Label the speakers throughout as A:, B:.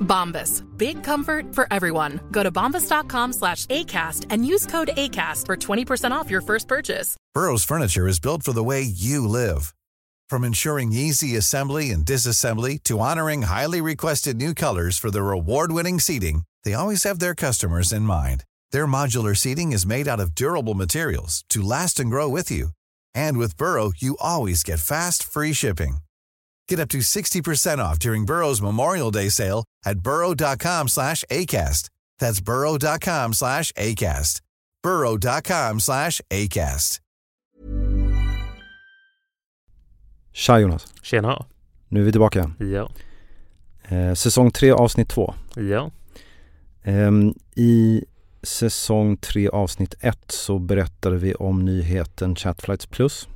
A: Bombas. Big comfort for everyone. Go to bombas.com slash ACAST and use code ACAST for 20% off your first purchase.
B: Burrow's furniture is built for the way you live. From ensuring easy assembly and disassembly to honoring highly requested new colors for their award-winning seating, they always have their customers in mind. Their modular seating is made out of durable materials to last and grow with you. And with Burrow, you always get fast, free shipping. Get up to 60% off during Burrow's Memorial Day sale at burrow.com slash ACAST. That's burrow.com slash ACAST. burrow.com slash ACAST.
C: Tja Jonas,
D: Tjena.
C: nu är vi tillbaka.
D: Ja.
C: Eh, säsong 3 avsnitt 2.
D: Ja.
C: Ehm, I säsong 3 avsnitt 1 så berättade vi om nyheten Chatflights Plus.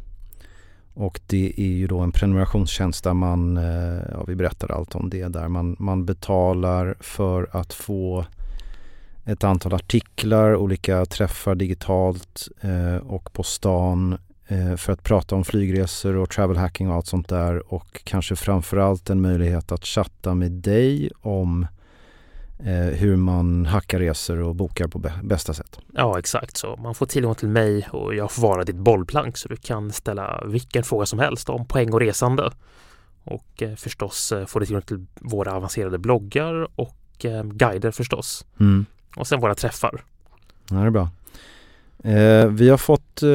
C: Och det är ju då en prenumerationstjänst där man, eh, ja vi berättade allt om det, där man, man betalar för att få ett antal artiklar, olika träffar digitalt eh, och på stan eh, för att prata om flygresor och travel hacking och allt sånt där och kanske framförallt en möjlighet att chatta med dig om eh, hur man hackar resor och bokar på bä- bästa sätt.
D: ja, exakt så. Man får tillgång till mig och jag får vara ditt bollplank så du kan ställa vilken fråga som helst om poäng och resande. Och eh, förstås eh, får du tillgång till våra avancerade bloggar och eh, guider förstås.
C: Mm.
D: Och sen våra träffar.
C: Ja, det är bra. Eh, vi har fått, eh,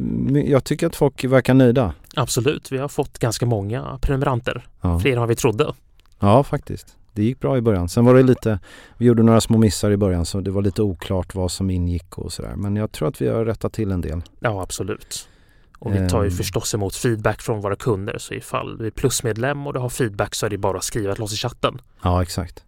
C: my- jag tycker att folk verkar nöjda.
D: Absolut, vi har fått ganska många prenumeranter.
C: Ja.
D: Fler än vad vi trodde.
C: ja, faktiskt. Det gick bra i början. Sen var det lite, vi gjorde några små missar i början så det var lite oklart vad som ingick och sådär. Men jag tror att vi har rättat till en del.
D: Ja, absolut. Och vi tar ju
C: Ehm.
D: förstås emot feedback från våra kunder så ifall du är plusmedlem och du har feedback så är det bara att skriva till oss i chatten.
C: Ja, exakt.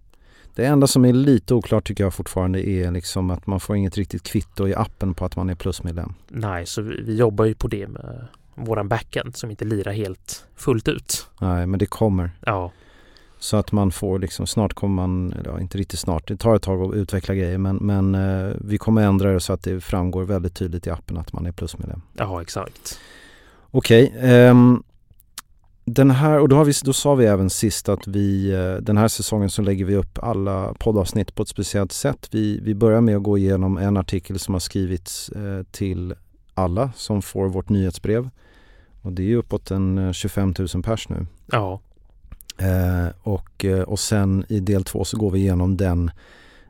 C: Det enda som är lite oklart tycker jag fortfarande är liksom att man får inget riktigt kvitto i appen på att man är plusmedlem.
D: Nej, så vi, vi jobbar ju på det med våran backend som inte lirar helt fullt ut.
C: Nej, men det kommer.
D: Ja,
C: Så att man får liksom, snart kommer man, eller ja, inte riktigt snart, det tar ett tag att utveckla grejer men, men eh, vi kommer ändra det så att det framgår väldigt tydligt i appen att man är plusmedlem.
D: ja exakt.
C: Okej, ehm, den här, och då, har vi, då sa vi även sist att vi, eh, den här säsongen så lägger vi upp alla poddavsnitt på ett speciellt sätt. Vi, vi börjar med att gå igenom en artikel som har skrivits eh, till alla som får vårt nyhetsbrev. Och det är ju uppåt en eh, 25 000 pers nu.
D: Ja,
C: Eh, och, eh, och sen i del två så går vi igenom den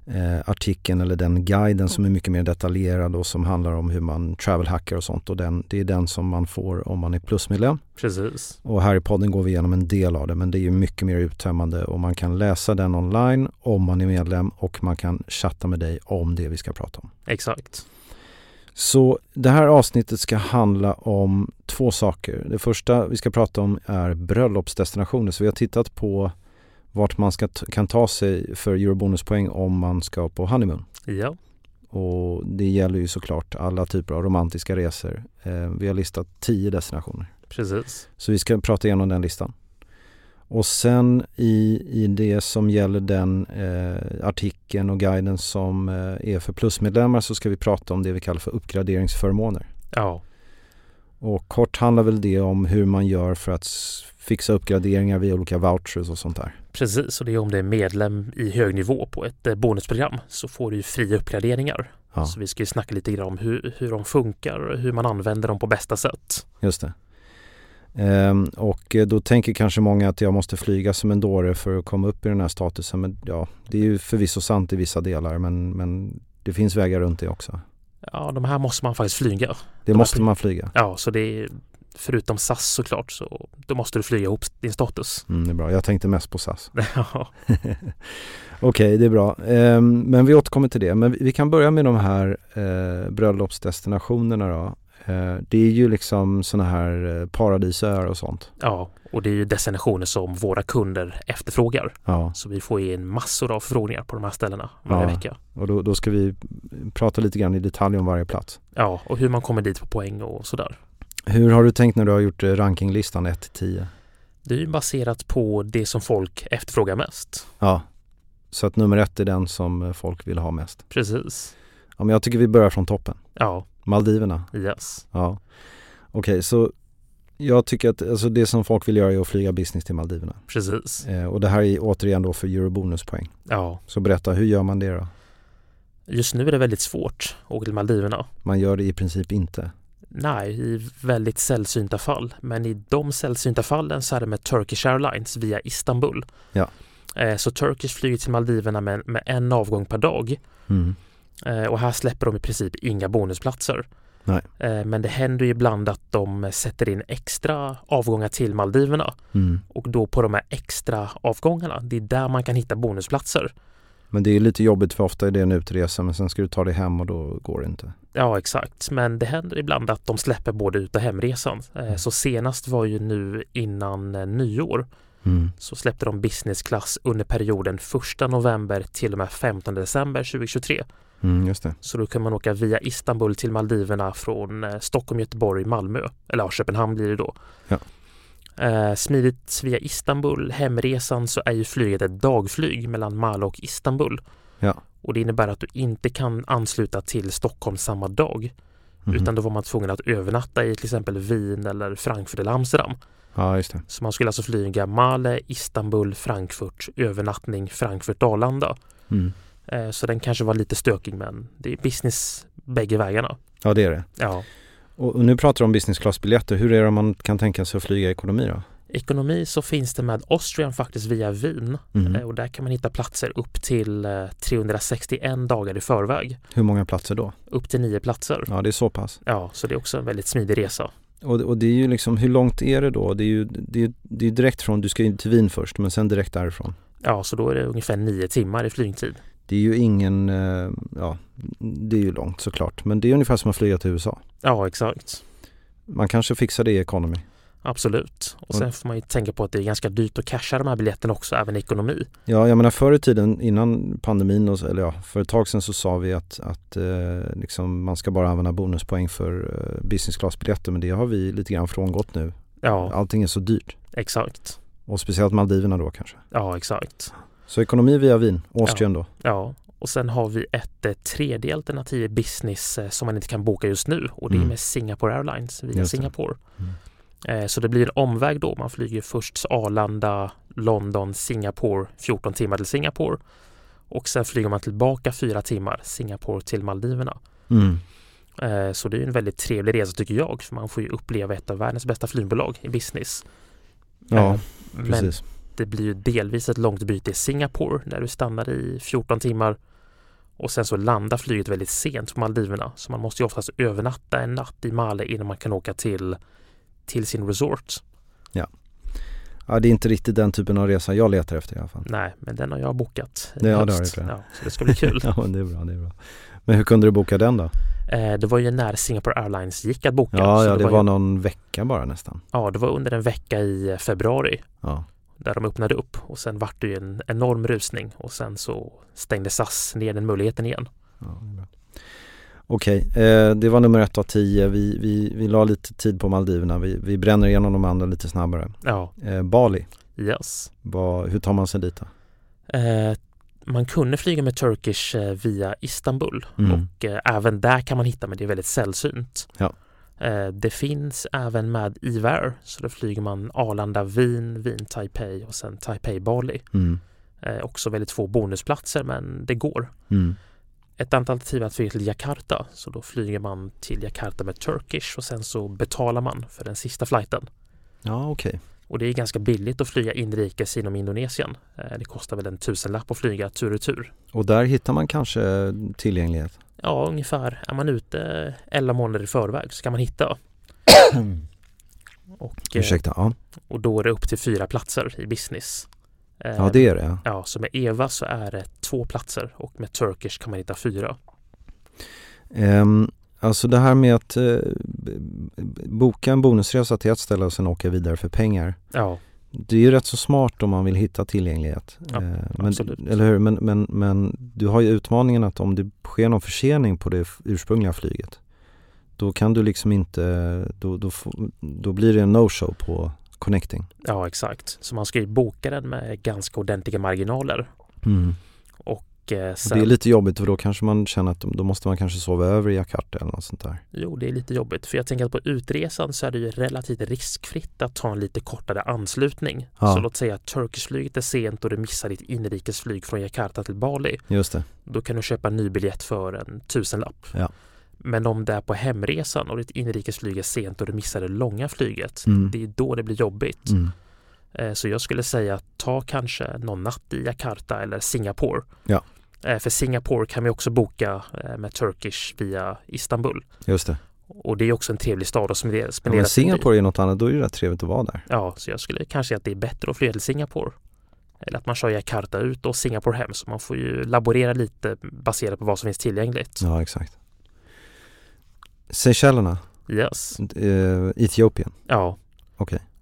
C: eh, artikeln eller den guiden som är mycket mer detaljerad och som handlar om hur man travel hackar och sånt. Och den, det är den som man får om man är plusmedlem.
D: precis.
C: Och här i podden går vi igenom en del av det men det är ju mycket mer uttömmande och man kan läsa den online om man är medlem och man kan chatta med dig om det vi ska prata om.
D: Exakt.
C: Så det här avsnittet ska handla om två saker. Det första vi ska prata om är bröllopsdestinationer. Så vi har tittat på vart man ska t- kan ta sig för eurobonuspoäng om man ska på honeymoon.
D: Ja,
C: Och det gäller ju såklart alla typer av romantiska resor. Eh, vi har listat tio destinationer.
D: precis.
C: Så vi ska prata igenom den listan. Och sen i, i det som gäller den eh, artikeln och guiden som eh, är för plusmedlemmar så ska vi prata om det vi kallar för uppgraderingsförmåner.
D: Ja,
C: Och kort handlar väl det om hur man gör för att s- fixa uppgraderingar via olika vouchers och sånt där.
D: precis. Och det är om du är medlem i hög nivå på ett eh, bonusprogram så får du ju fria uppgraderingar.
C: Ja,
D: Så vi ska ju snacka lite grann om hur, hur de funkar och hur man använder dem på bästa sätt.
C: just det. Ehm, och eh, då tänker kanske många att jag måste flyga som en dåre för att komma upp i den här statusen. Men ja, det är ju förvisso sant i vissa delar men, men det finns vägar runt det också.
D: Ja, de här måste man faktiskt flyga.
C: Det måste man flyga.
D: Ja, så det är förutom SAS såklart så då måste du flyga ihop din status.
C: Mm, det är bra. Jag tänkte mest på SAS.
D: Ja,
C: Okej, det är bra. Ehm, men vi återkommer till det. Men vi, vi kan börja med de här eh, bröllopsdestinationerna då. Eh, det är ju liksom sådana här eh, paradisöar och sånt.
D: ja, och det är ju destinationer som våra kunder efterfrågar.
C: Ja,
D: Så vi får in massor av förfrågningar på de här ställena varje
C: Ja.
D: vecka.
C: och då, då ska vi prata lite grann i detalj om varje plats.
D: Ja, och hur man kommer dit på poäng och sådär.
C: Hur har du tänkt när du har gjort eh, rankinglistan 1 till 10?
D: Det är ju baserat på det som folk efterfrågar mest.
C: Ja, så att nummer ett är den som eh, folk vill ha mest.
D: Precis.
C: Ja, men jag tycker vi börjar från toppen.
D: Ja,
C: Maldiverna.
D: yes.
C: Ja. Okej, så jag tycker att alltså det som folk vill göra är att flyga business till Maldiverna.
D: Precis.
C: Eh, och det här är återigen då för eurobonuspoäng.
D: Ja,
C: Så berätta, hur gör man det då?
D: just nu är det väldigt svårt att åka till Maldiverna.
C: Man gör det i princip inte.
D: Nej, i väldigt sällsynta fall. Men i de sällsynta fallen så är det med Turkish Airlines via Istanbul.
C: Ja.
D: Eh, Så Turkish flyger till Maldiverna med, med en avgång per dag
C: Mm.
D: Eh, och här släpper de i princip inga bonusplatser.
C: Nej.
D: Eh, Men det händer ju ibland att de sätter in extra avgångar till Maldiverna
C: Mm.
D: och då på de här extra avgångarna, det är där man kan hitta bonusplatser.
C: Men det är lite jobbigt för ofta är det en utresa men sen ska du ta dig hem och då går det inte.
D: Ja, exakt. Men det händer ibland att de släpper både ut och hemresan. Eh, Så senast var ju nu innan eh, nyår
C: Mm.
D: så släppte de business class under perioden 1 november till och med 15 december 2023.
C: Mm, just det.
D: Så då kan man åka via Istanbul till Maldiverna från eh, Stockholm, Göteborg, Malmö. Eller ja, Köpenhamn blir det då.
C: Ja.
D: Eh, smidigt via Istanbul, hemresan så är ju flyget ett dagflyg mellan Malmö och Istanbul.
C: Ja.
D: Och det innebär att du inte kan ansluta till Stockholm samma dag.
C: Mhm.
D: Utan då var man tvungen att övernatta i till exempel Wien eller Frankfurt eller Amsterdam.
C: Ja, just det.
D: Så man skulle alltså flyga Malmö, Istanbul, Frankfurt, övernattning, Frankfurt, Arlanda.
C: Mm.
D: Eh, Så den kanske var lite stökig men det är business bägge vägarna.
C: Ja, det är det.
D: Ja.
C: Och, och nu pratar du om business class-biljetter. Hur är det om man kan tänka sig att flyga ekonomi då?
D: Ekonomi så finns det med Austrian faktiskt via Wien
C: Mhm.
D: Eh, och där kan man hitta platser upp till eh, 361 dagar i förväg.
C: Hur många platser då?
D: Upp till nio platser.
C: Ja, det är så pass.
D: Ja, så det är också en väldigt smidig resa.
C: Och, och det är ju liksom, hur långt är det då? Det är ju det är, det är direkt från, du ska ju till Wien först men sen direkt därifrån.
D: Ja, så då är det ungefär nio timmar i flygtid.
C: Det är ju ingen, eh, ja det är ju långt såklart men det är ungefär som att flyga till USA.
D: Ja, exakt.
C: Man kanske fixar det i economy.
D: Absolut. Och
C: Och-
D: sen får man ju tänka på att det är ganska dyrt att casha de här biljetterna också, även i ekonomi.
C: Ja, jag menar förr i tiden innan pandemin, och, så- eller ja, för ett tag sedan så sa vi att, att eh, liksom man ska bara använda bonuspoäng för eh, business class-biljetter men det har vi lite grann frångått nu.
D: Ja,
C: Allting är så dyrt.
D: exakt.
C: Och speciellt Maldiverna då kanske.
D: Ja, exakt.
C: Så ekonomi via Wien, Austrien då.
D: Ja, och sen har vi ett eh, tredje alternativ i business eh, som man inte kan boka just nu och det
C: Mm.
D: är med Singapore Airlines via
C: Just det. Mm.
D: Singapore. Eh, Så det blir en omväg då. Man flyger först Arlanda, London, Singapore, 14 timmar till Singapore och sen flyger man tillbaka fyra timmar Singapore till Maldiverna.
C: Mm.
D: Eh, Så det är ju en väldigt trevlig resa tycker jag, för man får ju uppleva ett av världens bästa flygbolag i business.
C: Ja,
D: Eh, Men
C: precis.
D: det blir ju delvis ett långt byte i Singapore när du stannar i 14 timmar och sen så landar flyget väldigt sent på Maldiverna så man måste ju oftast övernatta en natt i Male innan man kan åka till, till sin resort.
C: Ja, det är inte riktigt den typen av resa jag letar efter i alla fall.
D: Nej, men den har jag bokat. i
C: Ja, det har
D: höst.
C: du, tror jag.
D: ja, Så det ska bli kul.
C: ja, men det är bra, det är bra. Men hur kunde du boka den då?
D: Eh, det var ju när Singapore Airlines gick att boka.
C: Ja,
D: så
C: ja det
D: ju,
C: var någon vecka bara nästan.
D: ja, det var under en vecka i februari
C: Ja,
D: där de öppnade upp och sen vart det ju en enorm rusning och sen så stängde SAS ner den möjligheten igen.
C: ja det är bra. Okej, eh, det var nummer ett av tio. Vi, vi, vi la lite tid på Maldiverna. Vi, vi bränner igenom de andra lite snabbare.
D: Ja,
C: Eh, Bali,
D: yes.
C: vad, hur tar man sig dit då?
D: Eh, man kunde flyga med Turkish eh, via Istanbul
C: Mm.
D: och eh, även där kan man hitta men det är väldigt sällsynt.
C: Ja.
D: Eh, det finns även med Ivar så då flyger man Arlanda, Wien, Wien, Taipei och sen Taipei, Bali.
C: Mm.
D: Eh, också väldigt få bonusplatser men det går.
C: Mm.
D: Ett annat alternativ är att flyga till Jakarta så då flyger man till Jakarta med Turkish och sen så betalar man för den sista flighten.
C: Ja, okej.
D: Och det är ganska billigt att flyga inrikes inom Indonesien. Eh, det kostar väl en tusenlapp att flyga tur och tur.
C: Och där hittar man kanske tillgänglighet?
D: ja, ungefär är man ute 11 månader i förväg så kan man hitta. Och, eh,
C: Ursäkta, ja.
D: och då är det upp till fyra platser i business. Eh,
C: Ja, det är det. ja.
D: ja, så med Eva så är det två platser och med Turkish kan man hitta fyra.
C: Ehm, alltså det här med att eh, b- b- boka en bonusresa till ett ställe och sen åka vidare för pengar.
D: Ja,
C: Det är ju rätt så smart om man vill hitta tillgänglighet.
D: Ja,
C: Eh, men,
D: absolut.
C: Eller hur? Men, men, men du har ju utmaningen att om det sker någon försening på det f- ursprungliga flyget då kan du liksom inte, då, då, får- då blir det en no-show på connecting.
D: ja exakt. Så man ska ju boka den med ganska ordentliga marginaler.
C: Mm.
D: Och, eh,
C: Och det är
D: sen,
C: lite jobbigt för då kanske man känner att då måste man kanske sova över i Jakarta eller något sånt där.
D: jo, det är lite jobbigt. För jag tänker att på utresan så är det ju relativt riskfritt att ta en lite kortare anslutning.
C: Ja.
D: Så låt säga att Turkishflyget är sent och du missar ditt inrikesflyg från Jakarta till Bali.
C: Just det.
D: Då kan du köpa en ny biljett för en tusenlapp.
C: Ja.
D: Men om det är på hemresan och ditt inrikesflyg är sent och du missar det långa flyget,
C: Mm.
D: det är då det blir jobbigt.
C: Mm.
D: Eh, Så jag skulle säga att ta kanske någon natt i Jakarta eller Singapore.
C: Ja.
D: Eh, För Singapore kan vi också boka eh, med Turkish via Istanbul.
C: Just det.
D: Och det är också en trevlig stad att spendera
C: Ja,
D: spendera
C: men
D: sin tid i.
C: Singapore är något annat, då är det rätt trevligt att vara där.
D: Ja, så jag skulle kanske säga att det är bättre att flyga till Singapore. Eller att man kör Jakarta ut och Singapore hem. Så man får ju laborera lite baserat på vad som finns tillgängligt.
C: Ja, exakt. Seychellerna,
D: Yes.
C: eh, Etiopien,
D: Ja,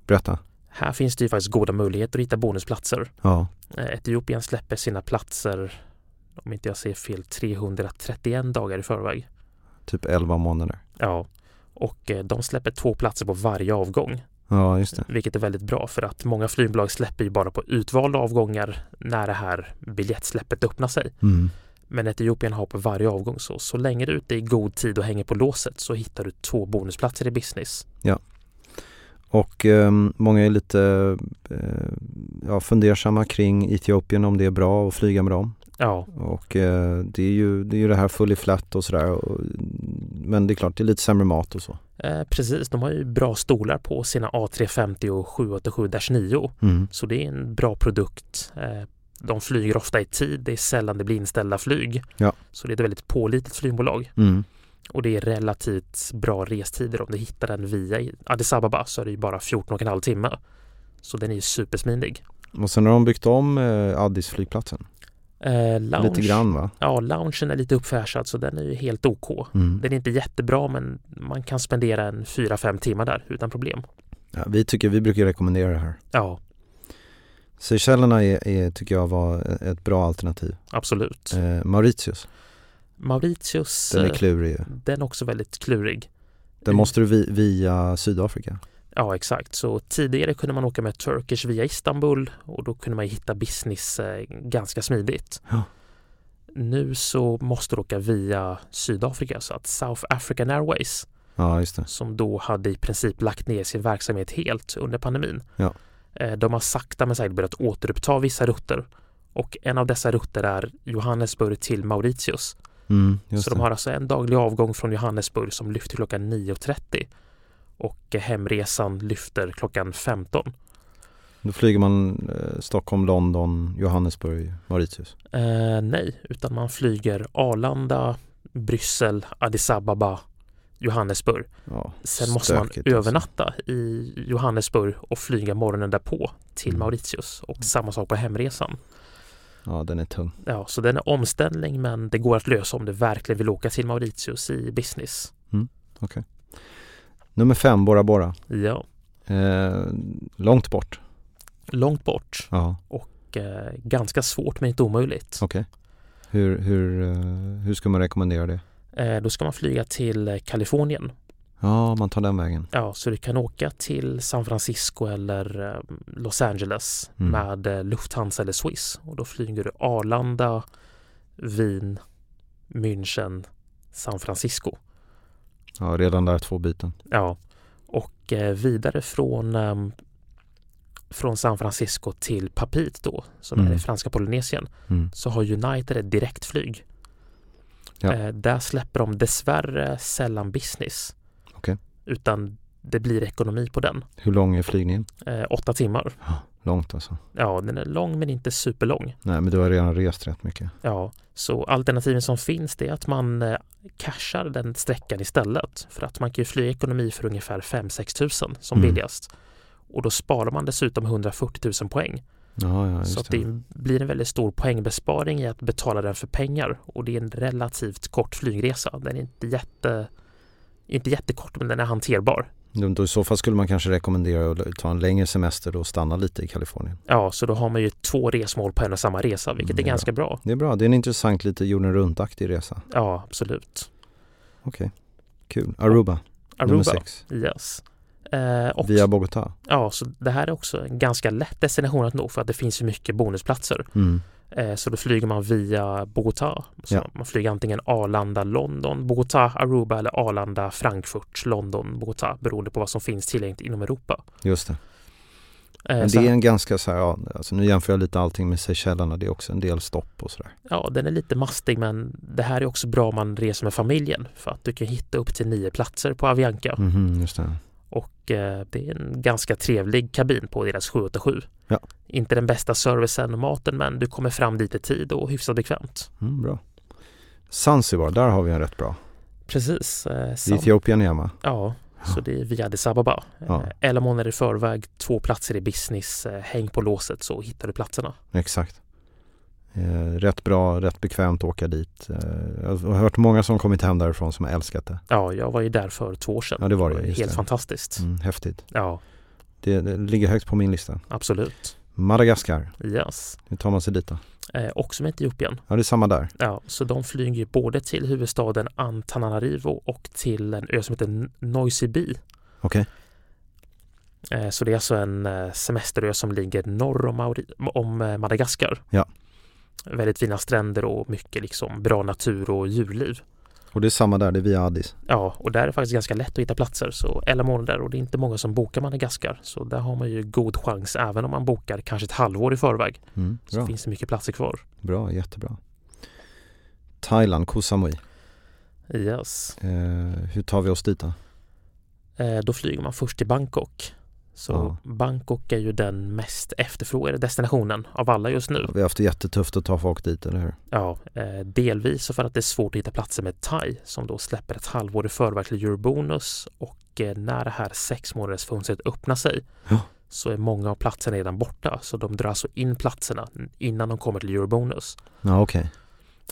C: berätta.
D: här finns det ju faktiskt goda möjligheter att hitta bonusplatser.
C: Ja,
D: Eh, Etiopien släpper sina platser, om inte jag säger fel, 331 dagar i förväg.
C: typ 11 månader.
D: Ja, och eh, de släpper två platser på varje avgång,
C: Ja, just det.
D: vilket är väldigt bra för att många flygbolag släpper ju bara på utvalda avgångar när det här biljettsläppet öppnar sig.
C: Mm.
D: Men Etiopien har på varje avgång så, så länge du är ute i god tid och hänger på låset så hittar du två bonusplatser i business.
C: Och ehm, många är lite eh, ja, fundersamma kring Etiopien om det är bra att flyga med dem.
D: Ja,
C: Och eh, det, är ju, det är ju det här full i flat och sådär. Och, men det är klart, det är lite sämre mat och så.
D: eh, precis. De har ju bra stolar på sina A350 och 787-9.
C: Mm.
D: Så det är en bra produkt. Eh, De flyger ofta i tid, det är sällan det blir inställda flyg.
C: Ja.
D: Så det är ett väldigt pålitligt flygbolag
C: Mm.
D: och det är relativt bra restider. Om du hittar den via i- Addis Ababa så är det ju bara 14,5 timme. Så den är ju supersmidig.
C: Och sen har de byggt om eh, Addis flygplatsen.
D: Eh, lounge,
C: Lite grann va?
D: Ja, loungen är lite uppfräschad så den är ju helt OK.
C: Mm.
D: Den är inte jättebra men man kan spendera en 4-5 timmar där utan problem.
C: Ja, vi tycker, vi brukar rekommendera det här.
D: Ja,
C: Seychellerna är, är, tycker jag var ett bra alternativ.
D: absolut.
C: Eh, Mauritius,
D: Mauritius,
C: den är
D: eh,
C: klurig ju.
D: den är också väldigt klurig.
C: Den måste du vi, via Sydafrika.
D: Ja, exakt. Så tidigare kunde man åka med Turkish via Istanbul och då kunde man ju hitta business eh, ganska smidigt.
C: Ja.
D: Nu så måste du åka via Sydafrika, så att South African Airways,
C: Ja, just det.
D: som då hade i princip lagt ner sin verksamhet helt under pandemin,
C: Ja.
D: eh, de har sakta men säkert börjat återuppta vissa rutter. Och en av dessa rutter är Johannesburg till Mauritius.
C: Mm, just
D: Så
C: det.
D: de har alltså en daglig avgång från Johannesburg som lyfter klockan 9.30 och eh, hemresan lyfter klockan 15.
C: Då flyger man eh, Stockholm, London, Johannesburg, Mauritius.
D: Eh, nej, utan man flyger Arlanda, Bryssel, Addis Ababa, Johannesburg.
C: Ja,
D: Sen måste man
C: stökigt alltså.
D: övernatta i Johannesburg och flyga morgonen därpå till
C: Mm.
D: Mauritius och samma sak på hemresan.
C: Ja, den är tung.
D: Ja, så den är omställning men det går att lösa om du verkligen vill åka till Mauritius i business.
C: Nummer fem, Bora Bora.
D: Ja,
C: Eh, långt bort.
D: långt bort
C: Ja,
D: och eh, ganska svårt men inte omöjligt.
C: okej. Hur, hur, eh, hur ska man rekommendera det?
D: Eh, Då ska man flyga till eh, Kalifornien.
C: Ja, man tar den vägen.
D: Ja, så du kan åka till San Francisco eller eh, Los Angeles
C: Mm.
D: med eh, Lufthansa eller Swiss. Och då flyger du Arlanda, Wien, München, San Francisco.
C: Ja, redan där två byten.
D: Ja, och eh, vidare från ehm, från San Francisco till Papeete då, som är
C: Mm.
D: i franska Polynesien,
C: Mm.
D: så har United ett direktflyg.
C: Ja.
D: Eh, där släpper de dessvärre sällan business.
C: Okej.
D: Utan det blir ekonomi på den.
C: Hur lång är flygningen?
D: Eh, åtta timmar.
C: Långt alltså.
D: Ja, den är lång men inte superlång.
C: Nej, men du har redan rest rätt mycket.
D: Ja, så alternativen som finns det är att man eh, cashar den sträckan istället. För att man kan ju flyga ekonomi för ungefär 5-6 tusen som
C: Mm.
D: billigast. Och då sparar man dessutom 140 000 poäng.
C: Ja, ja,
D: så att
C: just
D: det
C: det.
D: är- blir en väldigt stor poängbesparing i att betala den för pengar. Och det är en relativt kort flygresa. Den är inte, jätte, inte jättekort men den är hanterbar.
C: Då- då I så fall skulle man kanske rekommendera att ta en längre semester då och stanna lite i Kalifornien.
D: Ja, så då har man ju två resmål på en och samma resa, vilket
C: Mm, det
D: är
C: är
D: ganska bra.
C: Det är bra, det är en intressant lite jorden runt-aktig resa.
D: Ja, absolut.
C: Okej, kul. Aruba, nummer
D: Aruba,
C: sex.
D: yes. Eh, och
C: Via Bogotá.
D: Ja, så det här är också en ganska lätt destination att nå för att det finns ju mycket bonusplatser.
C: Mm.
D: Eh, så då flyger man via Bogotá. Så
C: Ja.
D: Man flyger antingen Arlanda, London, Bogotá, Aruba eller Arlanda, Frankfurt, London, Bogotá beroende på vad som finns tillgängligt inom Europa.
C: Just det.
D: Eh,
C: Men
D: så
C: det är
D: här-
C: en ganska så här, ja, alltså nu jämför jag lite allting med Seychellerna, det är också en del stopp och sådär.
D: Ja, den är lite mastig men det här är också bra om man reser med familjen för att du kan hitta upp till nio platser på Avianca
C: Mhm, just det.
D: och eh, det är en ganska trevlig kabin på deras 787.
C: Ja.
D: Inte den bästa servicen och maten men du kommer fram dit i tid och hyfsat bekvämt.
C: Mm, bra. Zanzibar, där har vi en rätt bra.
D: Precis. Eh,
C: Det är
D: sam-
C: Etiopien igen va?
D: ja, så det är via Addis Ababa.
C: Ja.
D: Eh, elva månader i förväg, två platser i business, eh, häng på låset så hittar du platserna.
C: Exakt. Eh, rätt bra, rätt bekvämt att åka dit. Eh, jag har hört många som kommit hem därifrån som har älskat det.
D: Ja, jag var ju där för två år sedan.
C: Ja, det var det, just
D: Helt
C: det.
D: fantastiskt.
C: Mm, häftigt.
D: Ja,
C: Det, det ligger högt på min lista.
D: absolut.
C: Madagaskar,
D: Yes.
C: hur tar man sig dit då?
D: Eh, också med Etiopien.
C: Ja, det är samma där.
D: Ja, så de flyger ju både till huvudstaden Antananarivo och till en ö som heter N- Noisy Be.
C: Okej.
D: Eh, Så det är alltså en eh, semesterö som ligger norr om, Mauri- om eh, Madagaskar.
C: Ja.
D: Väldigt fina stränder och mycket liksom bra natur och djurliv.
C: Och det är samma där, det är via Addis.
D: Ja, och där är det faktiskt ganska lätt att hitta platser. Så elva månader och det är inte många som bokar Madagaskar. Så där har man ju god chans även om man bokar kanske ett halvår i förväg.
C: Mm,
D: Så
C: bra.
D: finns det mycket platser kvar.
C: bra, jättebra. Thailand, Koh Samui.
D: Yes.
C: Eh, hur tar vi oss dit då?
D: Eh, Då flyger man först till Bangkok. Så
C: Ja.
D: Bangkok är ju den mest efterfrågade destinationen av alla just nu.
C: Vi har haft det jättetufft att ta folk dit, eller hur?
D: Ja, eh, delvis så för att det är svårt att hitta platser med Thai som då släpper ett halvår i förväg till Eurobonus och eh, när det här sex månaders fönstret öppnar sig
C: Ja.
D: så är många av platserna redan borta så de drar alltså in platserna innan de kommer till Eurobonus.
C: Ja, okej.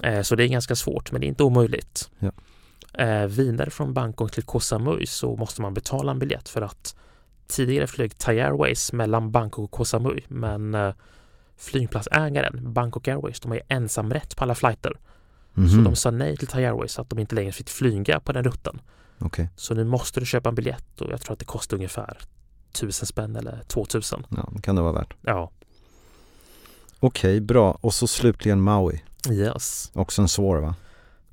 D: Eh, Så det är ganska svårt men det är inte omöjligt.
C: Ja.
D: Eh, Vidare från Bangkok till Koh Samui så måste man betala en biljett för att tidigare flög Thai Airways mellan Bangkok och Koh Samui men eh, flygplatsägaren Bangkok Airways de har ju ensamrätt på alla flighter så
C: Mhm.
D: de sa nej till Thai Airways så att de inte längre fick flyga på den rutten.
C: Okej.
D: Så nu måste du köpa en biljett och jag tror att det kostar ungefär 1000 spänn eller 2000.
C: Ja, det kan det vara värt.
D: Ja,
C: Okej, bra. Och så slutligen Maui.
D: yes.
C: Också en svår va?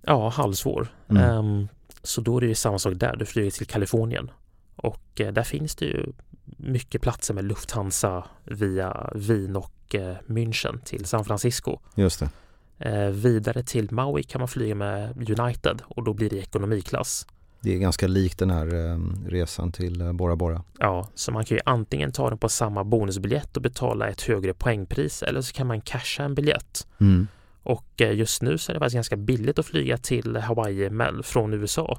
D: Ja, halvsvår.
C: Mm.
D: Ehm, så då är det ju samma sak där. Du flyger till Kalifornien och eh, där finns det ju mycket platser med Lufthansa via Wien och eh, München till San Francisco.
C: Just det.
D: Eh, vidare till Maui kan man flyga med United och då blir det ekonomiklass.
C: Det är ganska likt den här eh, resan till eh, Bora Bora.
D: Ja, så man kan ju antingen ta den på samma bonusbiljett och betala ett högre poängpris eller så kan man casha en biljett.
C: Mm.
D: Och eh, just nu så är det faktiskt ganska billigt att flyga till Hawaii med från USA.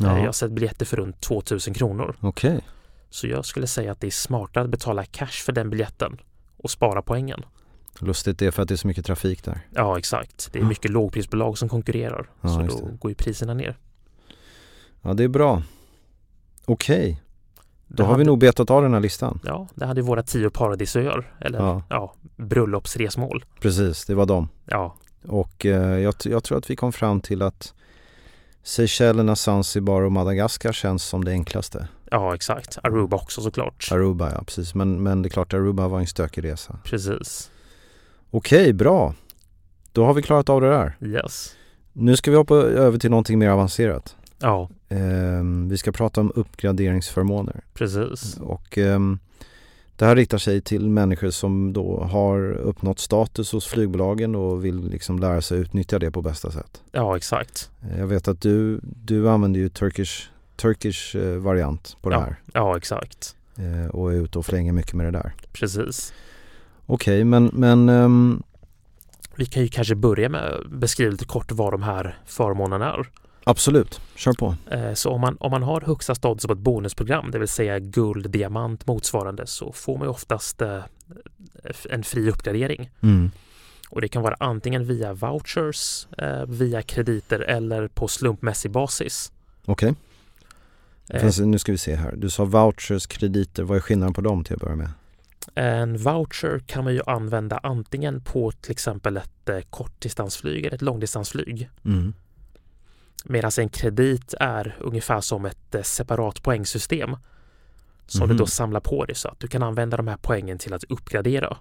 D: Eh, Jag har
C: Ja,
D: sett biljetter för runt 2000 kronor.
C: okej.
D: Så jag skulle säga att det är smartare att betala cash för den biljetten och spara poängen.
C: Lustigt det är för att det är så mycket trafik där.
D: Ja, exakt. Det är mycket lågprisbolag som konkurrerar.
C: Ja,
D: så
C: just
D: då går ju priserna ner.
C: Ja, det är bra. Okej,
D: Det
C: då har vi
D: hade-
C: nog betat av den här listan.
D: Ja, det hade ju våra tio paradisöar. Eller
C: Ja.
D: ja. bröllopsresmål.
C: Precis, det var dem.
D: Ja,
C: Och eh, jag, t- jag tror att vi kom fram till att Seychellerna, Zanzibar och Madagaskar känns som det enklaste.
D: ja, exakt. Aruba också såklart.
C: Aruba, ja precis. Men, men det är klart, Aruba var en stökig resa.
D: Precis.
C: Okej, bra. Då har vi klarat av det där.
D: Yes.
C: Nu ska vi hoppa över till någonting mer avancerat.
D: Ja,
C: Ehm, vi ska prata om uppgraderingsförmåner.
D: precis.
C: Och ehm, det här riktar sig till människor som då har uppnått status hos flygbolagen och vill liksom lära sig utnyttja det på bästa sätt.
D: Ja, exakt.
C: Eh, Jag vet att du, du använder ju Turkish Turkish eh, variant på det
D: ja,
C: här
D: ja, exakt.
C: eh, och är ute och flänger mycket med det där.
D: Precis.
C: Okej, men, men ehm,
D: Vi kan ju kanske börja med att beskriva lite kort vad de här förmånerna är.
C: absolut, kör på.
D: Eh, Så om man, om man har högsta status på ett bonusprogram, det vill säga guld, diamant motsvarande, så får man ju oftast eh, en fri uppgradering.
C: Mm.
D: Och det kan vara antingen via vouchers, eh, via krediter eller på slumpmässig basis.
C: Okej,
D: Eh,
C: Fast nu ska vi se här. Du sa vouchers, krediter, vad är skillnaden på dem till att börja med?
D: En voucher kan man ju använda antingen på till exempel ett eh, kortdistansflyg eller ett långdistansflyg.
C: Mm.
D: Medan en kredit är ungefär som ett eh, separat poängsystem som du
C: Mhm.
D: då samlar på dig så att du kan använda de här poängen till att uppgradera.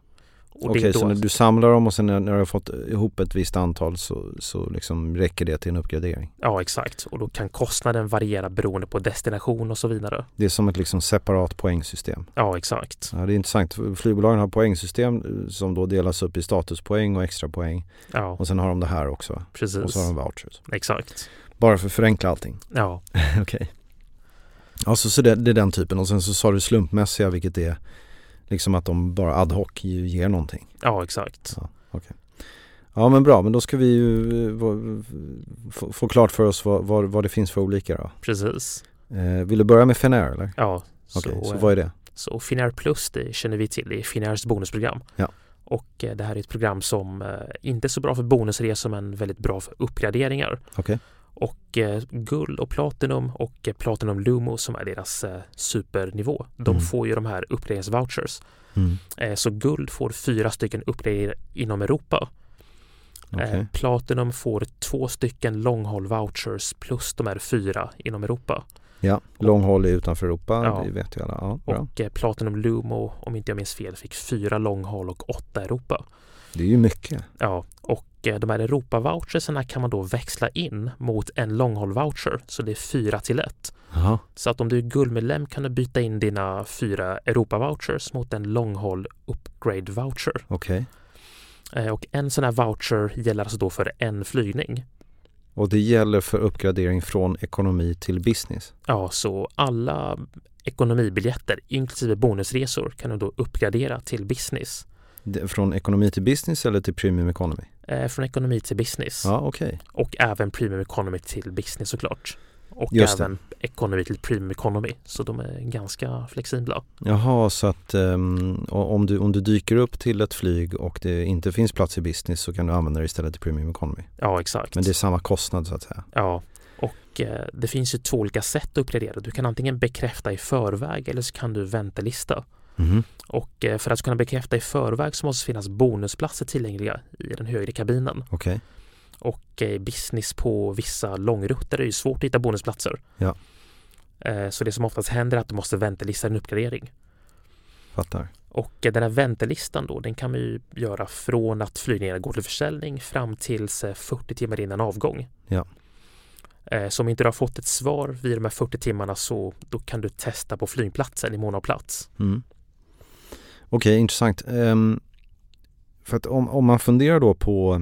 D: Och
C: Okej,
D: det är då alltså.
C: så när du samlar dem och sen när, när du har fått ihop ett visst antal så, så liksom räcker det till en uppgradering?
D: Ja, exakt. Och då kan kostnaden variera beroende på destination och så vidare.
C: Det är som ett liksom separat poängsystem?
D: Ja, exakt.
C: Ja, det är intressant. Flygbolagen har poängsystem eh, som då delas upp i statuspoäng och extra poäng.
D: Ja,
C: Och sen har de det här också. Och
D: precis.
C: så har de vouchers.
D: Exakt.
C: Bara för att förenkla allting.
D: Ja,
C: Okej. Alltså, så det, det är den typen. Och sen så sa du slumpmässiga vilket är liksom att de bara ad hoc ju ger någonting.
D: ja, exakt.
C: Ja men bra, men då ska vi ju eh, va- få, få klart för oss vad, vad, vad det finns för olika då.
D: Precis.
C: Eh, vill du börja med Finnair eller?
D: Ja,
C: Okej, så,
D: eh,
C: vad är det?
D: Så Finnair Plus, det känner vi till, det är Finnairs bonusprogram.
C: Ja.
D: Och eh, det här är ett program som eh, inte är så bra för bonusresor men väldigt bra för uppgraderingar.
C: Okej.
D: Och eh, guld och platinum och eh, platinum Lumo som är deras eh, supernivå, de
C: Mm.
D: får ju de här uppgraderingsvouchers.
C: Mm.
D: Eh, så guld får fyra stycken uppgraderingar inom Europa. Eh,
C: Okej.
D: platinum får två stycken långhåll vouchers plus de här fyra inom Europa.
C: Ja, lång håll är utanför Europa,
D: Ja.
C: det vet ju alla. Ja, bra.
D: Och eh, Platinum Lumo, om inte jag minns fel, fick fyra långhåll och åtta Europa.
C: Det är ju mycket.
D: Ja, och eh, de här Europa-voucherserna kan man då växla in mot en långhåll-voucher, så det är fyra till ett.
C: Jaha.
D: Så att om du är guldmedlem kan du byta in dina fyra Europa-vouchers mot en långhåll upgrade-voucher.
C: Okej.
D: Eh, Och en sån här voucher gäller alltså då för en flygning.
C: Och det gäller för uppgradering från ekonomi till business.
D: Ja, så alla ekonomibiljetter, inklusive bonusresor, kan du då uppgradera till business.
C: Det- Från ekonomi till business eller till premium economy?
D: Eh, Från ekonomi till business.
C: Ja, okej.
D: Och även Premium Economy till Business såklart. Och
C: Just det.
D: även Economy till Premium Economy. Så de är ganska flexibla.
C: Jaha, så att ehm, o- om, du, om du dyker upp till ett flyg och det inte finns plats i business så kan du använda det istället till premium economy.
D: Ja, exakt.
C: Men det är samma kostnad så att säga.
D: Ja, och eh, det finns ju två olika sätt att uppgradera. Du kan antingen bekräfta i förväg eller så kan du väntelista.
C: Mhm.
D: Och eh, för att kunna bekräfta i förväg så måste det finnas bonusplatser tillgängliga i den högre kabinen.
C: Okej,
D: Och eh, business på vissa långrutter är ju svårt att hitta bonusplatser.
C: Ja.
D: Eh, Så det som oftast händer är att du måste väntelista din uppgradering.
C: fattar.
D: Och eh, den här väntelistan då, den kan man ju göra från att flygningarna går till försäljning fram tills eh, 40 timmar innan avgång.
C: Ja.
D: Eh, Så om inte du har fått ett svar vid de här 40 timmarna så då kan du testa på flygplatsen i mån av plats.
C: Mm. Okej, intressant. Ehm, för att om, om man funderar då på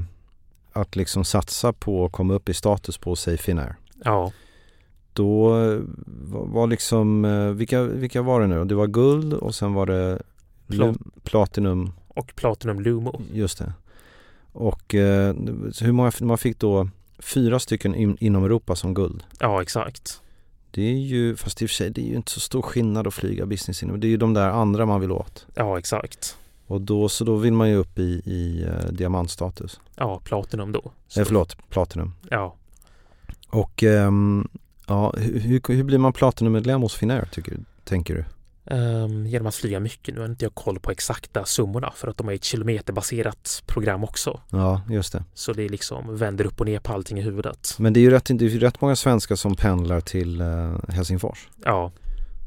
C: att liksom satsa på att komma upp i status på säg Finnair.
D: Ja,
C: Då eh, var, var liksom, eh, vilka, vilka var det nu? Det var guld och sen var det
D: Plat-
C: lu- platinum,
D: och Platinum Lumo.
C: just det. Och eh, så hur många, man fick då fyra stycken in, inom Europa som guld.
D: Ja, exakt.
C: Det är ju, fast i och för sig, det är ju inte så stor skillnad att flyga business inom, det är ju de där andra man vill åt.
D: Ja, exakt.
C: Och då, så då vill man ju upp i, i eh, diamantstatus.
D: Ja, Platinum då. Så-
C: Eh, förlåt, platinum.
D: Ja,
C: Och ehm, ja, hur, hur, hur blir man platinummedlem hos Finnair tycker du? Tänker du?
D: ehm, genom att flyga mycket. Nu har inte jag koll på exakta summorna för att de är ett kilometerbaserat program också.
C: Ja, just det.
D: Så det är liksom vänder upp och ner på allting i huvudet.
C: Men det är ju rätt, det är ju rätt många svenskar som pendlar till eh, Helsingfors.
D: Ja,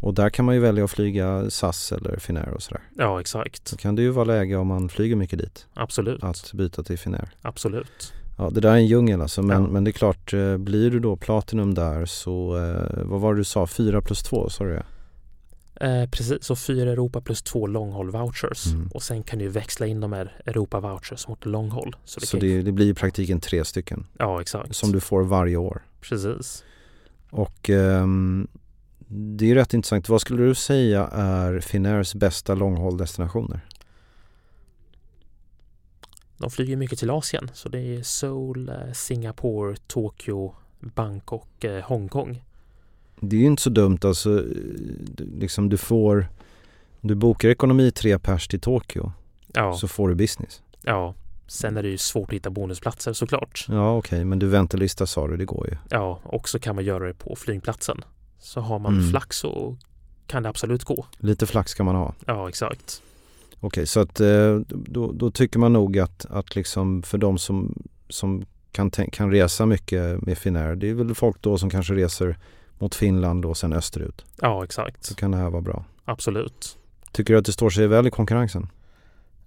C: Och där kan man ju välja att flyga SAS eller Finnair och sådär.
D: ja exakt.
C: Så kan det ju vara läge om man flyger mycket dit
D: Absolut,
C: att byta till Finnair.
D: absolut.
C: Ja, det där är en djungel alltså. Men,
D: Ja.
C: men det är klart, eh, blir du då platinum där så, eh, vad var det du sa, 4 plus 2 sa du det?
D: Eh, precis, så fyra Europa plus två långhåll vouchers
C: Mm.
D: och sen kan du växla in de här Europa vouchers mot långhåll. Så det
C: Så
D: kan,
C: det, det blir i praktiken tre stycken.
D: Ja, exakt.
C: som du får varje år.
D: Precis.
C: Och ehm, det är rätt intressant. Vad skulle du säga är Finnairs bästa långhålldestinationer?
D: De flyger mycket till Asien, så det är Seoul, eh, Singapore, Tokyo, Bangkok, eh, Hongkong.
C: Det är ju inte så dumt alltså. eh, du- Liksom du får, du bokar ekonomi tre pers till Tokyo
D: Ja,
C: så får du business.
D: ja. Sen är det ju svårt att hitta bonusplatser såklart.
C: Ja okej, men du väntelista sa du, det går ju.
D: Ja, och så kan man göra det på flygplatsen. Så har man
C: Mm.
D: flax så kan det absolut gå.
C: Lite flax kan man ha.
D: Ja, exakt.
C: Okej, så att eh, då, då tycker man nog att, att liksom för de som, som kan, tän- kan resa mycket med Finnair, det är väl folk då som kanske reser mot Finland och sen österut.
D: Ja, exakt.
C: Så kan det här vara bra.
D: Absolut.
C: Tycker du att det står sig väl i konkurrensen?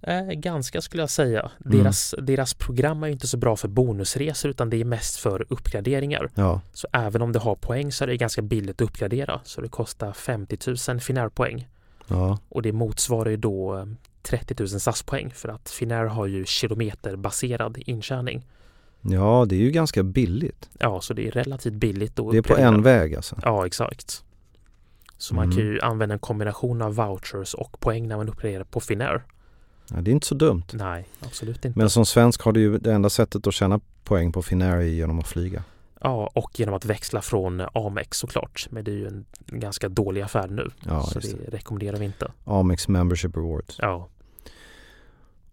D: Eh, ganska skulle jag säga.
C: Mm.
D: Deras, deras program är ju inte så bra för bonusresor utan det är mest för uppgraderingar.
C: Ja,
D: Så även om det har poäng så är det ganska billigt att uppgradera. Så det kostar 50 000 Finnair-poäng.
C: ja,
D: Och det motsvarar ju då eh, 30 000 SAS-poäng för att Finnair har ju kilometerbaserad intjäning.
C: ja det är ju ganska billigt.
D: Ja, så det är relativt billigt att
C: Det är på
D: uppgradera.
C: en väg alltså.
D: Ja, exakt. Så man
C: Mm.
D: kan ju använda en kombination av vouchers och poäng när man uppgraderar på Finnair.
C: Ja, det är inte så dumt.
D: Nej, absolut inte.
C: Men som svensk har du ju det enda sättet att tjäna poäng på Finnair är genom att flyga.
D: Ja, och genom att växla från eh, Amex såklart. Men det är ju en ganska dålig affär nu.
C: Ja,
D: så
C: just
D: det rekommenderar vi inte.
C: Amex Membership Rewards.
D: Ja.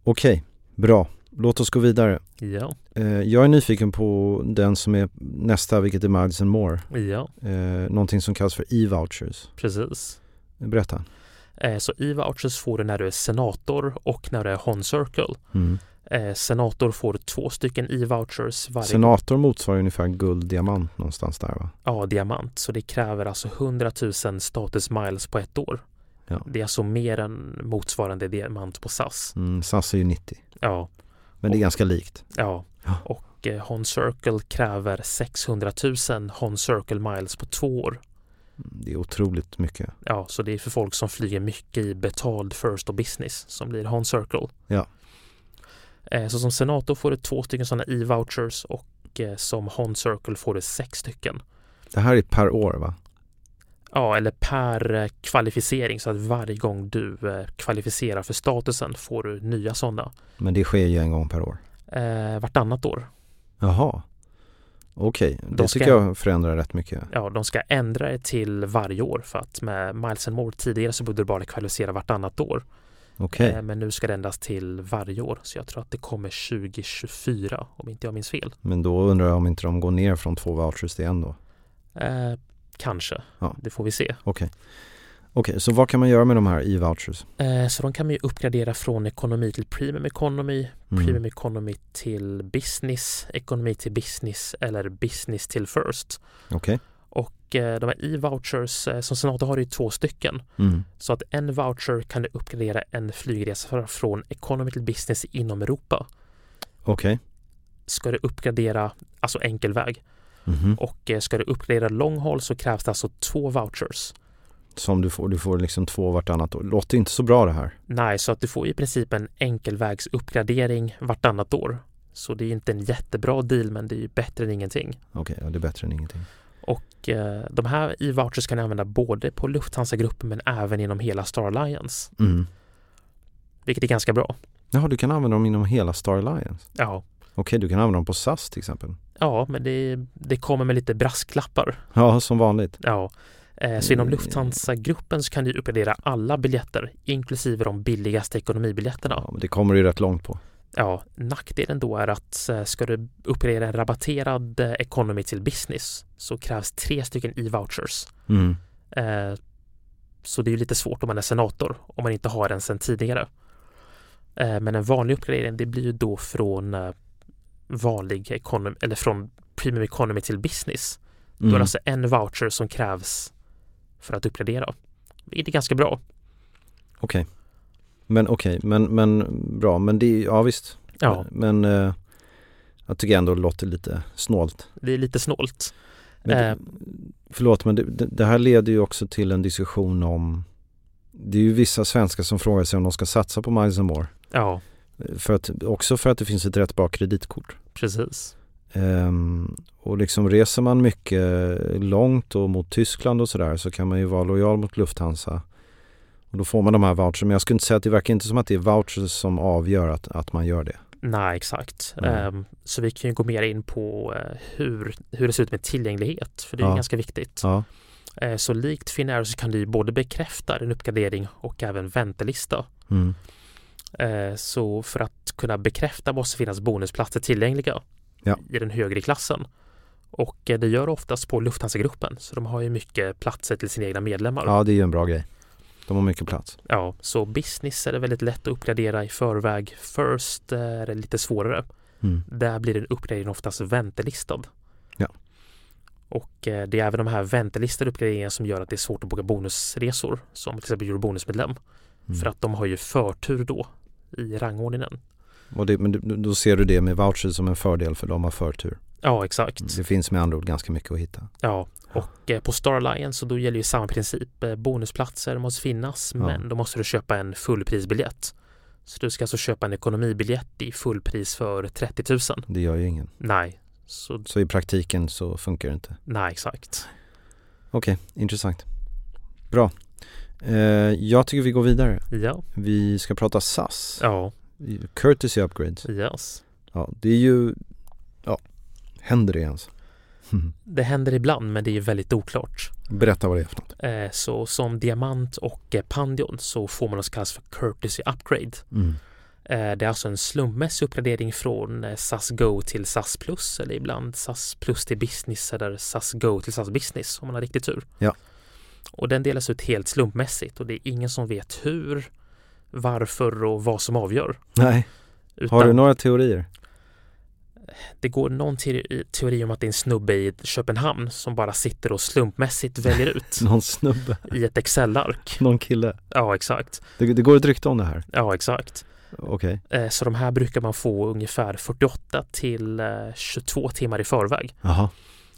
C: Okej, bra. Låt oss gå vidare.
D: Ja,
C: Eh, Jag är nyfiken på den som är nästa, vilket är Miles and More.
D: ja,
C: Eh, någonting som kallas för e-vouchers.
D: precis.
C: Berätta.
D: Eh, Så e-vouchers får du när du är senator och när du är Hon Circle.
C: Mm.
D: Eh, Senator får du två stycken e-vouchers varje
C: Senator motsvarar ungefär guld, diamant någonstans där va?
D: Ja, diamant. Så det kräver alltså 100 000 status miles på ett år.
C: Ja.
D: Det är alltså mer än motsvarande diamant på SAS.
C: Mm, SAS är ju 90.
D: Ja,
C: Men det är ganska likt.
D: ja.
C: Ja.
D: Och eh, Hon Circle kräver 600 000 Hon Circle miles på två år.
C: Det är otroligt mycket.
D: Ja, så det är för folk som flyger mycket i betald first och business som blir Hon Circle.
C: Ja.
D: Eh, Så som senator får du två stycken sådana e-vouchers och eh, som Hon Circle får du sex stycken.
C: Det här är per år va?
D: Ja, eller per eh, kvalificering så att varje gång du eh, kvalificerar för statusen får du nya sådana
C: Men det sker ju en gång per år.
D: eh, vartannat år.
C: Jaha. Okej, det
D: De ska-
C: tycker jag förändrar rätt mycket.
D: Ja, de ska ändra det till varje år för att med Miles and More tidigare så borde du bara kvalificera vartannat år.
C: Okej,
D: Eh, men nu ska det ändras till varje år så jag tror att det kommer 2024 om inte jag minns fel.
C: men då undrar jag om inte de går ner från två vouchers till en då.
D: Eh, kanske,
C: Ja.
D: det får vi se.
C: Okej. Okej, så vad kan man göra med de här e-vouchers?
D: Eh, så de kan man ju uppgradera från ekonomi till premium economy,
C: Mm.
D: premium economy till business, ekonomi till business eller business till first.
C: Okej.
D: Och eh, de här e-vouchers, eh, som senator har du ju två stycken.
C: Mm.
D: Så att en voucher kan du uppgradera en flygresa för- från economy till business inom Europa.
C: Okej.
D: Ska du uppgradera, alltså enkel väg,
C: Mhm.
D: och eh, ska du uppgradera long haul så krävs det alltså två vouchers.
C: Som du får, du får liksom två vartannat år. Låter inte så bra det här.
D: Nej, så att du får i princip en enkelvägsuppgradering vartannat år. Så det är inte en jättebra deal, men det är ju bättre än ingenting.
C: Okej, ja, det är bättre än ingenting.
D: Och eh, de här e-vouchers kan du använda både på Lufthansa-gruppen men även inom hela Star Alliance,
C: Mm.
D: vilket är ganska bra.
C: Jaha, du kan använda dem inom hela Star Alliance?
D: Ja,
C: Okej, du kan använda dem på SAS till exempel?
D: ja men det, det kommer med lite brasklappar.
C: Ja, som vanligt.
D: Ja. Eh, Så inom
C: Mm.
D: Lufthansa-gruppen så kan du uppgradera alla biljetter, inklusive de billigaste ekonomibiljetterna.
C: Ja, men det kommer du ju rätt långt på.
D: Ja, nackdelen då är att eh, ska du uppgradera en rabatterad eh, economy till business så krävs tre stycken e-vouchers.
C: Mm.
D: Eh, Så det är ju lite svårt om man är senator, om man inte har den sedan tidigare. Eh, Men en vanlig uppgradering, det blir ju då från eh, vanlig economy, eller från premium economy till business. Då är
C: Mm.
D: det alltså en voucher som krävs för att uppgradera. Vilket är ganska bra.
C: Okej. Men okej, men, men bra, men det är ja visst.
D: Ja,
C: Men eh, jag tycker ändå det låter lite snålt.
D: det är lite snålt.
C: Men
D: Eh.
C: det, förlåt, men det, det- det här leder ju också till en diskussion om det är ju vissa svenskar som frågar sig om de ska satsa på Miles and More. eh,
D: Ja,
C: För att, också för att det finns ett rätt bra kreditkort.
D: precis.
C: Ehm, och liksom reser man mycket långt och mot Tyskland och sådär så kan man ju vara lojal mot Lufthansa. Och då får man de här vouchers. Men jag skulle inte säga att det verkar inte som att det är vouchers som avgör att, att man gör det.
D: Nej, exakt.
C: Mm.
D: Ehm, så vi kan ju gå mer in på eh, hur, hur det ser ut med tillgänglighet, för det är
C: Ja.
D: ju ganska viktigt.
C: Ja,
D: Eh, så likt Finnair så kan du ju både bekräfta en uppgradering och även väntelista.
C: mm.
D: Eh, så för att kunna bekräfta måste finnas bonusplatser tillgängliga
C: Ja.
D: i den högre klassen. Och eh, det gör oftast på Lufthansa-gruppen, så de har ju mycket platser till sina egna medlemmar.
C: ja det är ju en bra grej. De har mycket plats.
D: Ja, så business är det väldigt lätt att uppgradera i förväg. First eh, är det lite svårare.
C: Mm.
D: Där blir en uppgradering oftast väntelistad.
C: Ja.
D: Och eh, det är även de här väntelistade uppgraderingarna som gör att det är svårt att boka bonusresor som till exempel Eurobonusmedlem.
C: Mm.
D: För att de har ju förtur då i rangordningen.
C: Och det, men du- då ser du det med vouchers som en fördel för de har förtur.
D: Ja, exakt.
C: Mm, Det finns med andra ord ganska mycket att hitta.
D: Ja, och eh, på Star Alliance så då gäller ju samma princip. Eh, Bonusplatser måste finnas,
C: Ja.
D: men då måste du köpa en fullprisbiljett. Så du ska alltså köpa en ekonomibiljett i fullpris för 30 000?
C: Det gör ju ingen.
D: Nej, så
C: Så i praktiken så funkar det inte.
D: nej exakt.
C: Okej, intressant. Bra. Eh, jag tycker vi går vidare.
D: Ja,
C: Vi ska prata SAS.
D: ja,
C: Courtesy upgrades.
D: yes.
C: Ja, det är ju... Ja, händer det ens?
D: Det händer ibland, men det är ju väldigt oklart.
C: Berätta vad det är för något.
D: Eh, Så som diamant och eh, pandion så får man något som kallas för courtesy upgrade.
C: Mm.
D: Eh, Det är alltså en slumpmässig uppgradering från eh, SAS Go till SAS Plus eller ibland SAS Plus till Business eller SAS Go till SAS Business om man har riktigt tur.
C: Ja.
D: Och den delas ut helt slumpmässigt och det är ingen som vet hur, varför och vad som avgör.
C: Nej,
D: Utan
C: har du några teorier?
D: Det går någon teori, teori om att det är en snubbe i Köpenhamn som bara sitter och slumpmässigt väljer ut
C: Någon snubbe?
D: i ett Excel-ark.
C: Någon kille?
D: Ja, exakt.
C: Det, det går ett rykte om det här.
D: Ja, exakt.
C: Okej.
D: Eh, Så de här brukar man få ungefär 48 till eh, 22 timmar i förväg.
C: Jaha.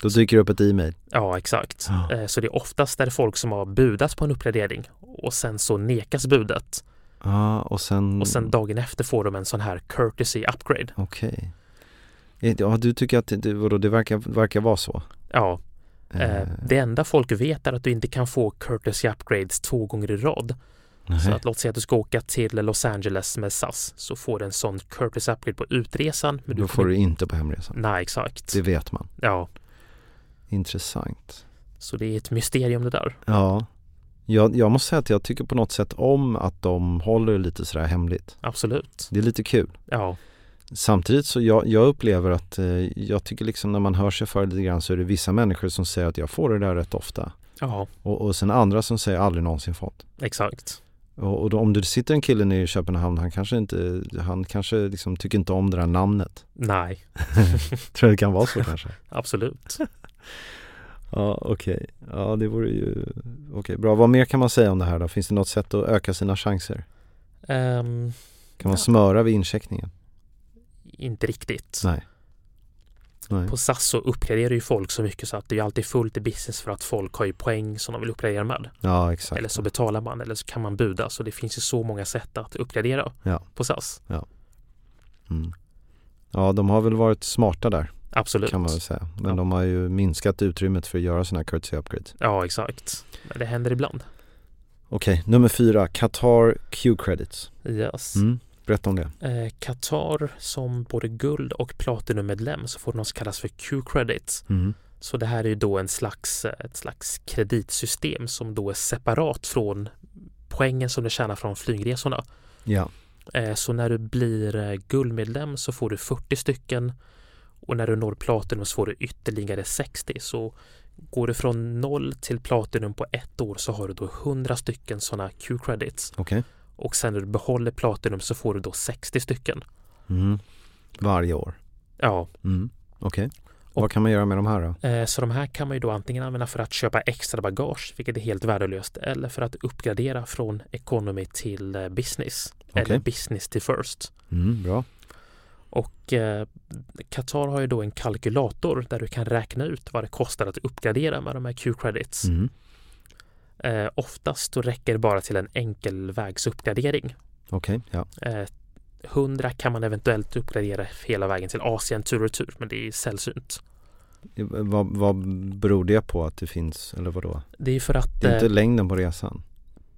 C: Då dyker det upp ett e-mail.
D: Ja, exakt.
C: Ja.
D: Eh, Så det är oftast där folk som har budats på en uppgradering och sen så nekas budet
C: Ja, och sen...
D: och sen dagen efter får de en sån här courtesy upgrade.
C: Okej. Eh, Ja, du tycker att det- det, vadå, det verkar, verkar vara så?
D: Ja, eh,
C: Eh,
D: det enda folk vet är att du inte kan få courtesy upgrades två gånger i rad. Så
C: nej.
D: att låt säga att du ska åka till Los Angeles med SAS så får du en sån courtesy upgrade på utresan. Men
C: Då
D: du Mm.
C: får du inte på hemresan.
D: Nej, exakt.
C: Det vet man.
D: Ja,
C: Intressant.
D: så det är ett mysterium det där.
C: Ja. Jag, jag måste säga att jag tycker på något sätt om att de håller det lite sådär hemligt.
D: Absolut.
C: Det är lite kul.
D: Ja,
C: Samtidigt så jag, jag upplever att eh, jag tycker liksom när man hör sig för lite grann så är det vissa människor som säger att jag får det där rätt ofta.
D: ja,
C: Och, och sen andra som säger aldrig någonsin fått.
D: exakt.
C: Och, och då, om det sitter en kille nere i Köpenhamn, han kanske inte, han kanske liksom tycker inte om det där namnet.
D: Nej,
C: Tror jag det kan vara så kanske.
D: absolut.
C: Ja, okej. Ja, det vore ju... Okej, bra. Vad mer kan man säga om det här då? Finns det något sätt att öka sina chanser?
D: Ehm,
C: Kan man smöra vid incheckningen?
D: inte riktigt.
C: Nej. Nej.
D: På SAS så uppgraderar ju folk så mycket så att det är ju alltid fullt i business för att folk har ju poäng som de vill uppgradera med.
C: Ja, exakt.
D: Eller så betalar man eller så kan man buda. Så det finns ju så många sätt att uppgradera
C: Ja.
D: på SAS.
C: Mm. Ja, de har väl varit smarta där
D: Absolut.
C: kan man väl säga. Men
D: Ja.
C: de har ju minskat utrymmet för att göra sådana här courtesy upgrades.
D: Ja, exakt. Men det händer ibland.
C: Okej, nummer fyra. Qatar Q-credits.
D: Yes.
C: Mm. Berätta om det.
D: Eh, Qatar som både guld och platinummedlem så får de något som kallas för Q-credit.
C: Mm.
D: Så det här är ju då en slags, eh, ett slags kreditsystem som då är separat från poängen som du tjänar från flygresorna.
C: Ja,
D: Eh, Så när du blir eh, guldmedlem så får du 40 stycken och när du når platinum så får du ytterligare 60. Så går du från noll till platinum på ett år så har du då 100 stycken sådana Q-credits.
C: okej.
D: Och sen när du behåller platinum så får du då 60 stycken.
C: Mm. Varje år.
D: Ja,
C: Mm. Okej.
D: Och-
C: Vad kan man göra med de här då?
D: eh, så de här kan man ju då antingen använda för att köpa extra bagage, vilket är helt värdelöst, eller för att uppgradera från economy till eh, business. Eller
C: Okej.
D: business till first.
C: Mm, bra.
D: Och eh, Qatar har ju då en kalkylator där du kan räkna ut vad det kostar att uppgradera med de här Q-credits.
C: Mm.
D: Eh, oftast då räcker det bara till en enkelvägsuppgradering.
C: Okej, ja.
D: Eh, 100 kan man eventuellt uppgradera hela vägen till Asien tur och tur, men det är sällsynt.
C: Eh, Vad, vad beror det på att det finns, eller vadå?
D: Det är för att...
C: Det är inte
D: eh,
C: längden på resan?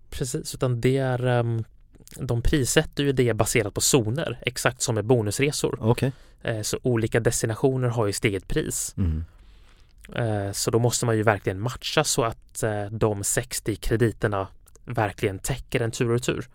D: precis, utan det är... ehm, de prissätter ju det baserat på zoner, exakt som med bonusresor.
C: Okej.
D: Eh, Så olika destinationer har ju sitt eget pris.
C: Mm.
D: Eh, Så då måste man ju verkligen matcha så att eh, de 60 krediterna verkligen täcker en tur och tur.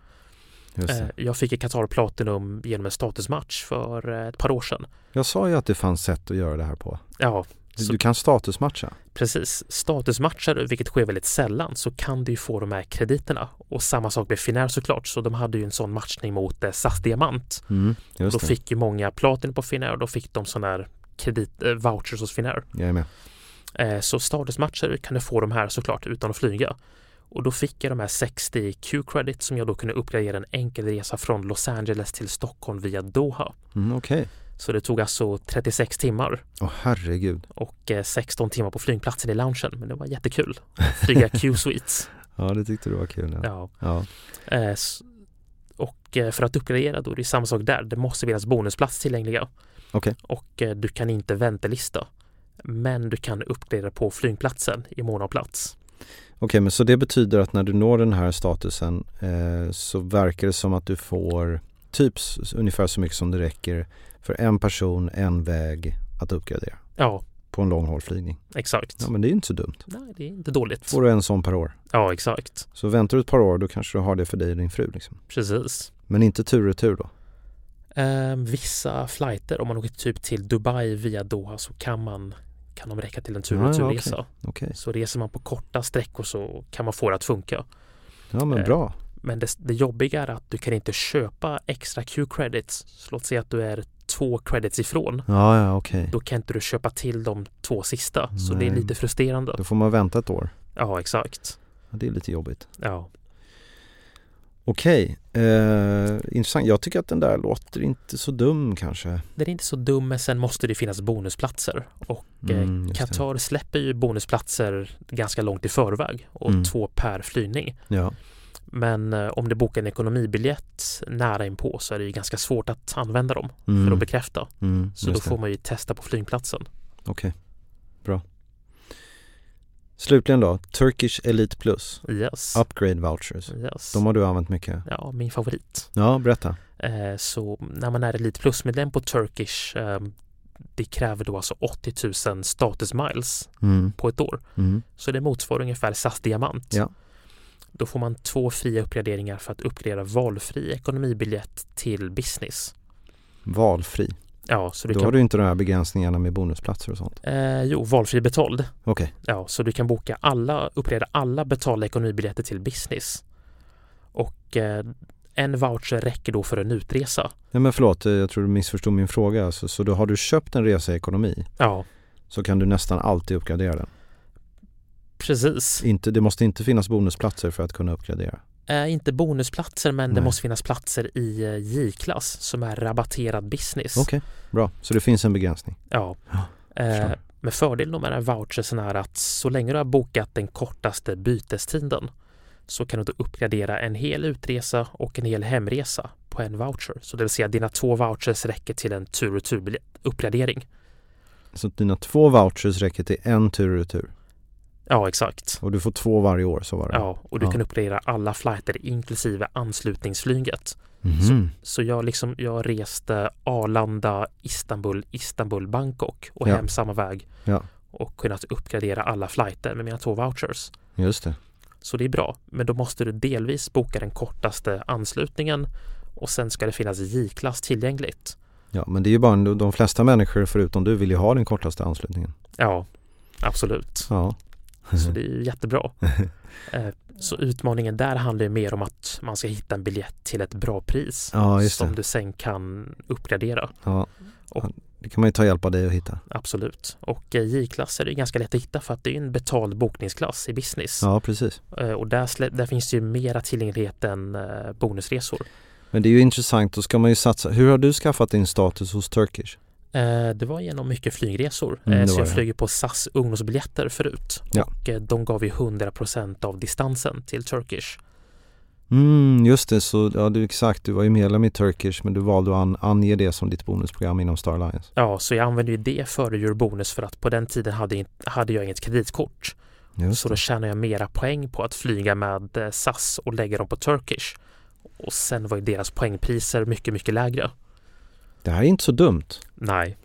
C: Just det.
D: Jag fick ju Qatar Platinum genom en statusmatch för eh, ett par år sedan.
C: Jag sa ju att det fanns sätt att göra det här på.
D: Ja,
C: Du,
D: Så-
C: du kan statusmatcha.
D: precis. Statusmatchar, vilket sker väldigt sällan, så kan du ju få de här krediterna. Och samma sak med Finnair såklart, så de hade ju en sån matchning mot eh, SAS Diamant.
C: Mm. Just
D: Då
C: det.
D: fick ju många Platinum på Finnair och då fick de sådana här kredit, eh, vouchers hos Finnair.
C: Jag är med.
D: Eh, Så statusmatcher kan du få de här såklart utan att flyga. Och då fick jag de här 60 Q-credit som jag då kunde uppgradera en enkel resa från Los Angeles till Stockholm via Doha.
C: Mm, Okej.
D: Så det tog alltså 36 timmar
C: Åh herregud.
D: och eh, 16 timmar på flygplatsen i loungen. Men det var jättekul. Flyga Q-suites.
C: Ja, det tyckte du var kul. Ja.
D: Ja.
C: Ja.
D: Eh, s- Och eh, för att uppgradera då, det är samma sak där. Det måste finnas bonusplats tillgängliga.
C: Okej.
D: Och eh, du kan inte väntelista. Men du kan uppgradera på flygplatsen i mån av plats.
C: Okej, men så det betyder att när du når den här statusen eh, så verkar det som att du får typ s- ungefär så mycket som det räcker för en person, en väg att uppgradera
D: Ja,
C: på en långhållflygning.
D: exakt.
C: Ja, men det är ju inte så dumt.
D: Nej, det är inte dåligt.
C: Får du en sån per år.
D: Ja, exakt.
C: Så väntar du ett par år då kanske du har det för dig och din fru. Liksom.
D: Precis.
C: Men inte tur och tur då.
D: Ehm, vissa flighter, om man åker typ till Dubai via Doha så kan man kan de räcka till en tur
C: Ja,
D: och
C: ja,
D: turresa.
C: Ah, Okej,
D: Så reser man på korta sträckor så kan man få det att funka.
C: ja men
D: Eh,
C: bra.
D: Men det, det jobbiga är att du kan inte köpa extra Q-credits. Så låt säga att du är två credits ifrån.
C: Ja, ja okej.
D: Då kan inte du köpa till de två sista. Så det är
C: Nej.
D: lite frustrerande.
C: Då får man vänta ett år.
D: Ja, exakt.
C: Ja, det är lite jobbigt.
D: Ja,
C: Okej, eh, intressant. Jag tycker att den där låter inte så dum kanske.
D: det är inte så dumt, men sen måste det finnas bonusplatser. Och eh,
C: Mm, just det.
D: Qatar släpper ju bonusplatser ganska långt i förväg och
C: Mm.
D: två per flygning.
C: Ja,
D: Men eh, om du bokar en ekonomibiljett nära inpå så är det ju ganska svårt att använda dem för
C: Mm.
D: att bekräfta.
C: mm,
D: Så då
C: just det.
D: får man ju testa på flygplatsen.
C: Okej, bra. Slutligen då, Turkish Elite Plus,
D: Yes.
C: Upgrade Vouchers.
D: yes.
C: De har du använt mycket.
D: Ja, min favorit.
C: Ja, berätta.
D: Eh, så när man är Elite Plus-medlem på Turkish eh, det kräver då alltså 80 000 status miles
C: Mm,
D: på ett år.
C: mm,
D: Så det motsvarar ungefär SAS Diamant.
C: Ja.
D: Då får man två fria uppgraderingar för att uppgradera valfri ekonomibiljett till business.
C: valfri.
D: Ja, så du
C: Då
D: kan...
C: har du inte de här begränsningarna med bonusplatser och sånt.
D: Eh, jo, valfri betald.
C: Okej,
D: Ja, så du kan boka alla, uppleda alla betalda ekonomibiljetter till business. Och eh, en voucher räcker då för en utresa.
C: Nej, men förlåt, eh, jag tror du missförstod min fråga. Alltså, Så, så då har du köpt en resa i ekonomi
D: Ja,
C: så kan du nästan alltid uppgradera den.
D: precis.
C: Inte, det måste inte finnas bonusplatser för att kunna uppgradera.
D: Eh, inte bonusplatser, men det
C: Nej.
D: måste finnas platser i eh, J-klass som är rabatterad business.
C: Okej, bra. Så det finns en begränsning.
D: Ja.
C: Ja,
D: Eh,
C: förstår.
D: med fördel med den här vouchersen är att så länge du har bokat den kortaste bytestiden så kan du då uppgradera en hel utresa och en hel hemresa på en voucher. Så det vill säga dina två vouchers räcker till en tur och tur uppgradering.
C: Så att dina två vouchers räcker till en tur och retur.
D: Ja, exakt.
C: Och du får två varje år, så var det.
D: Ja, och du
C: Ja.
D: kan uppgradera alla flighter inklusive anslutningsflyget.
C: Mhm.
D: Så jag, liksom, jag reste Arlanda, Istanbul, Istanbul, Bangkok och
C: Ja.
D: hem samma väg
C: Ja.
D: och kunnat uppgradera alla flighter med mina två vouchers.
C: Just det.
D: Så det är bra, men då måste du delvis boka den kortaste anslutningen och sen ska det finnas J-klass tillgängligt.
C: Ja, men det är ju bara en, de flesta människor förutom du vill ju ha den kortaste anslutningen.
D: Ja, absolut.
C: Ja.
D: Så det är ju jättebra. Eh, Så utmaningen där handlar ju mer om att man ska hitta en biljett till ett bra pris
C: Ja, just
D: som
C: det.
D: du sen kan uppgradera.
C: Ja.
D: Och-
C: Det kan man ju ta hjälp av dig att hitta.
D: Absolut. Och eh, J-klass är det ju ganska lätt att hitta för att det är ju en betald bokningsklass i business.
C: Ja, precis.
D: Eh, Och där, slä- där finns det ju mera tillgänglighet än eh, bonusresor.
C: Men det är ju intressant, då ska man ju satsa. Hur har du skaffat din status hos Turkish?
D: Eh, Det var genom mycket flygresor.
C: Mm,
D: Eh,
C: det
D: så
C: var
D: jag
C: det.
D: flyger på SAS ungdomsbiljetter förut.
C: Ja.
D: Och eh, de gav ju 100% av distansen till Turkish.
C: Mm, just det, så ja, du, exakt, du var ju medlem i Turkish men du valde att an, ange det som ditt bonusprogram inom Star Alliance.
D: Ja, så jag använde ju det före Eurobonus för att på den tiden hade, jag inte- hade jag inget kreditkort.
C: Just
D: Så då tjänade jag mera poäng på att flyga med eh, SAS och lägga dem på Turkish. Och sen var ju deras poängpriser mycket, mycket lägre.
C: Det här är inte så dumt.
D: Nej,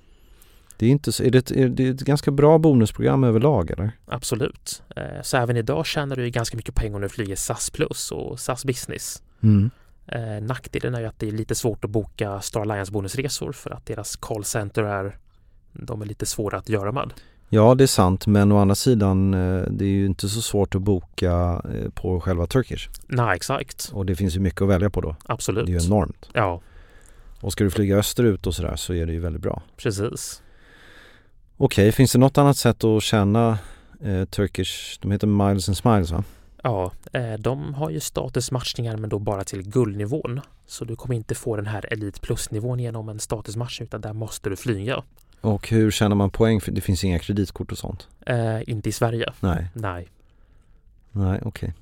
C: Det är, inte så, är, det ett, är det ett ganska bra bonusprogram överlag eller?
D: absolut. Eh, Så även idag tjänar du ju ganska mycket pengar om du flyger SAS Plus och SAS Business.
C: Mm.
D: Eh, Nackdelen är ju att det är lite svårt att boka Star Alliance bonusresor för att deras callcenter är de är lite svåra att göra med.
C: Ja det är sant men å andra sidan eh, det är ju inte så svårt att boka eh, på själva Turkish.
D: Nej, exakt.
C: Och det finns ju mycket att välja på då.
D: Absolut.
C: Det är ju enormt.
D: Ja,
C: Och ska du flyga österut och sådär så är det ju väldigt bra.
D: precis.
C: Okej, finns det något annat sätt att tjäna eh, Turkish? De heter Miles and Smiles va?
D: Ja, eh, de har ju statusmatchningar men då bara till guldnivån. Så du kommer inte få den här Elite Plus-nivån genom en statusmatch utan där måste du flyga.
C: Och hur tjänar man poäng? För det finns inga kreditkort och sånt.
D: Eh, inte i Sverige.
C: Nej,
D: Nej,
C: nej okej.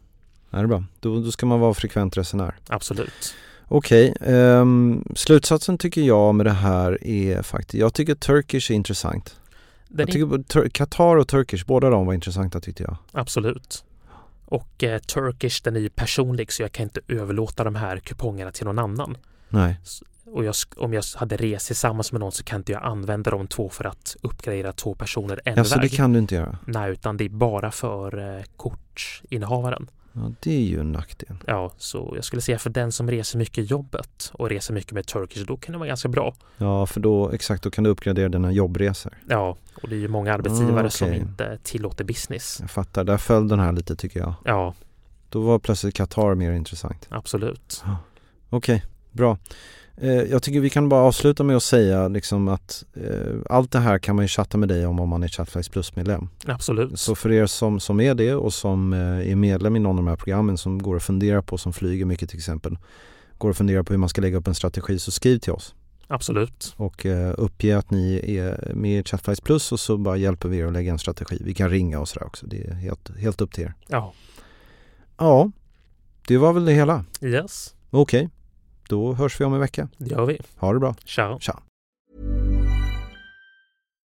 C: Nej, det är bra. Då, då ska man vara frekvent resenär.
D: absolut.
C: Okej, ehm, slutsatsen tycker jag med det här är faktiskt, jag tycker Turkish är intressant.
D: Den
C: jag
D: är-
C: tycker både Tur- Qatar och Turkish, båda de var intressanta tyckte jag.
D: Absolut. Och eh, Turkish, den är ju personlig så jag kan inte överlåta de här kupongerna till någon annan.
C: Nej,
D: Och jag, sk- om jag hade rest tillsammans med någon så kan inte jag använda de två för att uppgradera två personer en
C: alltså det
D: väg.
C: kan du inte göra.
D: Nej, utan det är bara för eh, kortinnehavaren.
C: Ja, det är ju en nackdel.
D: Ja, så jag skulle säga för den som reser mycket i jobbet och reser mycket med Turkish, då kan det vara ganska bra.
C: Ja, för då, exakt, då kan du uppgradera dina jobbresor.
D: Ja, och det är ju många arbetsgivare
C: Ah, okej.
D: som inte tillåter business.
C: Jag fattar, där föll den här lite tycker jag.
D: Ja,
C: Då var plötsligt Qatar mer intressant.
D: absolut.
C: Okej, bra. Eh, jag tycker vi kan bara avsluta med att säga liksom att eh, allt det här kan man ju chatta med dig om om man är Chatflex Plus-medlem.
D: Absolut.
C: Så för er som, som är det och som eh, är medlem i någon av de här programmen som går att fundera på, som flyger mycket till exempel, går att fundera på hur man ska lägga upp en strategi så skriv till oss
D: Absolut.
C: och eh, uppge att ni är med i Chatflies Plus och så bara hjälper vi er att lägga en strategi. Vi kan ringa och sådär också, det är helt, helt upp till er.
D: Ja,
C: Ja, det var väl det hela.
D: yes,
C: Okej, då hörs vi om en vecka.
D: det gör vi.
C: Ha det bra.
D: Ciao.
C: Tja!